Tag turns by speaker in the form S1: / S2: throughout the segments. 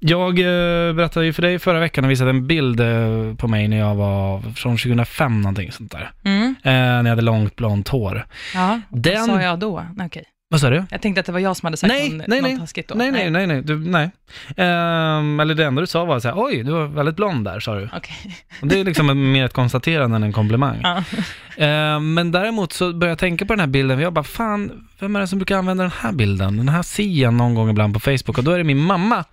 S1: Jag eh, berättade ju för dig förra veckan och visade en bild eh, på mig när jag var från 2005 någonting sånt där.
S2: Mm.
S1: Eh, när jag hade långt blont hår.
S2: Ja,
S1: Den-
S2: vad sa jag då? Nej, okej.
S1: Vad sa du?
S2: Jag tänkte att det var jag som hade sagt
S1: Nej,
S2: någon,
S1: nej,
S2: något
S1: nej.
S2: taskigt då.
S1: Nej, nej, nej, nej. Du, nej. Ehm, eller det enda du sa var så här, oj, du var väldigt blond där, sa du.
S2: Okej.
S1: Och det är liksom en- mer ett konstaterande än en komplimang.
S2: Ja.
S1: Ehm, men däremot så började jag tänka på den här bilden, för jag bara, fan, vem är det som brukar använda den här bilden? Den här ser jag någon gång ibland på Facebook, och då är det min mamma.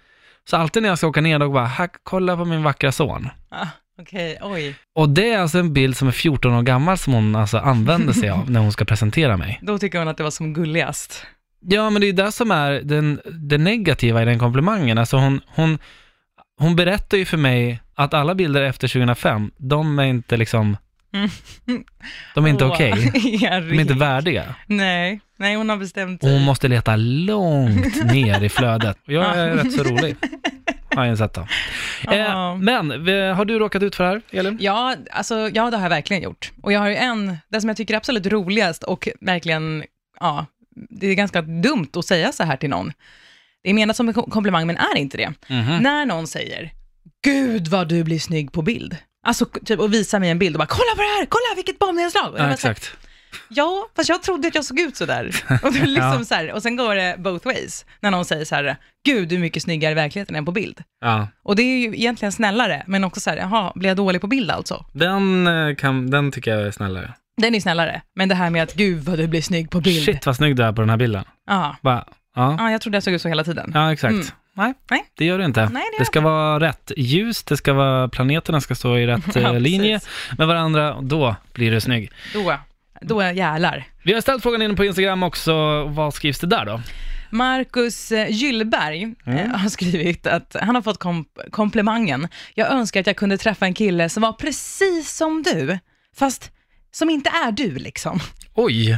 S1: Så alltid när jag ska åka ner, då bara, här, kolla på min vackra son.
S2: Ja, Okej, oj.
S1: Och det är alltså en bild som är 14 år gammal som hon alltså använder sig av när hon ska presentera mig.
S2: Då tycker hon att det var som gulligast.
S1: Ja, men det är ju det som är den, det negativa i den komplimangen. Alltså hon, hon, hon berättar ju för mig att alla bilder efter 2005, de är inte liksom,
S2: Mm.
S1: de är inte
S2: Åh,
S1: okej. De är inte
S2: Harry.
S1: värdiga.
S2: Nej, nej, hon har bestämt
S1: Och
S2: sig.
S1: hon måste leta långt ner i flödet. Och jag är rätt så rolig, har jag insett då. Eh,
S2: Ja.
S1: men, vi- har du råkat ut för det här, Elin?
S2: Ja, alltså, ja, det har jag verkligen gjort. Och jag har ju en, det som jag tycker är absolut roligast och verkligen, ja, det är ganska dumt att säga så här till någon. Det är menat som en kom- komplimang, men är inte det.
S1: Mhm. Mm.
S2: När någon säger, gud vad du blir snygg på bild. Alltså, k- typ, och visar mig en bild och bara, kolla på det här, kolla vilket bombnedslag. Och jag
S1: Ja,
S2: bara så här,
S1: exakt.
S2: Ja, fast jag trodde att jag såg ut sådär. Och, det är liksom så här, och sen går det both ways, när någon säger så här, gud du är mycket snyggare i verkligheten än på bild.
S1: Ja.
S2: Och det är ju egentligen snällare, men också så här, jaha, blir jag dålig på bild alltså?
S1: Den, eh, kan, den tycker jag är snällare.
S2: Den är ju snällare, men det här med att gud vad du blir snygg på bild.
S1: Shit vad snygg du är på den här bilden.
S2: Ja,
S1: Bara, ja.
S2: ja jag trodde jag såg ut så hela tiden.
S1: Ja, exakt.
S2: Mm.
S1: Nej,
S2: Nej.
S1: det gör det inte.
S2: det gör
S1: det ska vara rätt ljus, det ska vara, planeterna ska stå i rätt eh,
S2: Ja, precis.
S1: linje med varandra, och då blir du snygg.
S2: Då, då är jag jävlar.
S1: Vi har ställt frågan in på Instagram också, vad skrivs det där då?
S2: Marcus eh, Gyllberg eh,
S1: Mm.
S2: har skrivit att han har fått kom- komplimangen. Jag önskar att jag kunde träffa en kille som var precis som du, fast som inte är du liksom.
S1: Oj,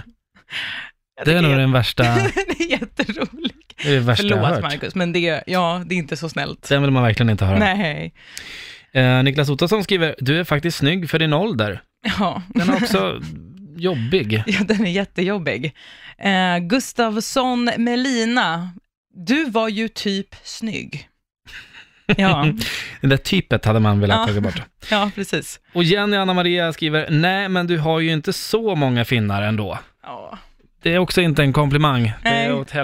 S1: det är
S2: tycker
S1: nog
S2: jag-
S1: den värsta, det
S2: Den är jätterolig.
S1: är det värsta jag har
S2: Förlåt
S1: hört.
S2: Marcus, men det, ja, det är inte så snällt.
S1: Den vill man verkligen inte höra.
S2: Nej.
S1: Eh, Niklas Ottosson skriver, du är faktiskt snygg för din ålder.
S2: Ja.
S1: Den är också jobbig.
S2: ja, den är jättejobbig. Eh, Gustavsson Melina, du var ju typ snygg. Ja,
S1: Det där typet hade man velat
S2: Ja.
S1: ta bort.
S2: ja precis.
S1: Och Jenny Anna Maria skriver, nej men du har ju inte så många finnar ändå.
S2: Ja.
S1: Det är också inte en komplimang. Det är
S2: Nej.
S1: åt helvete.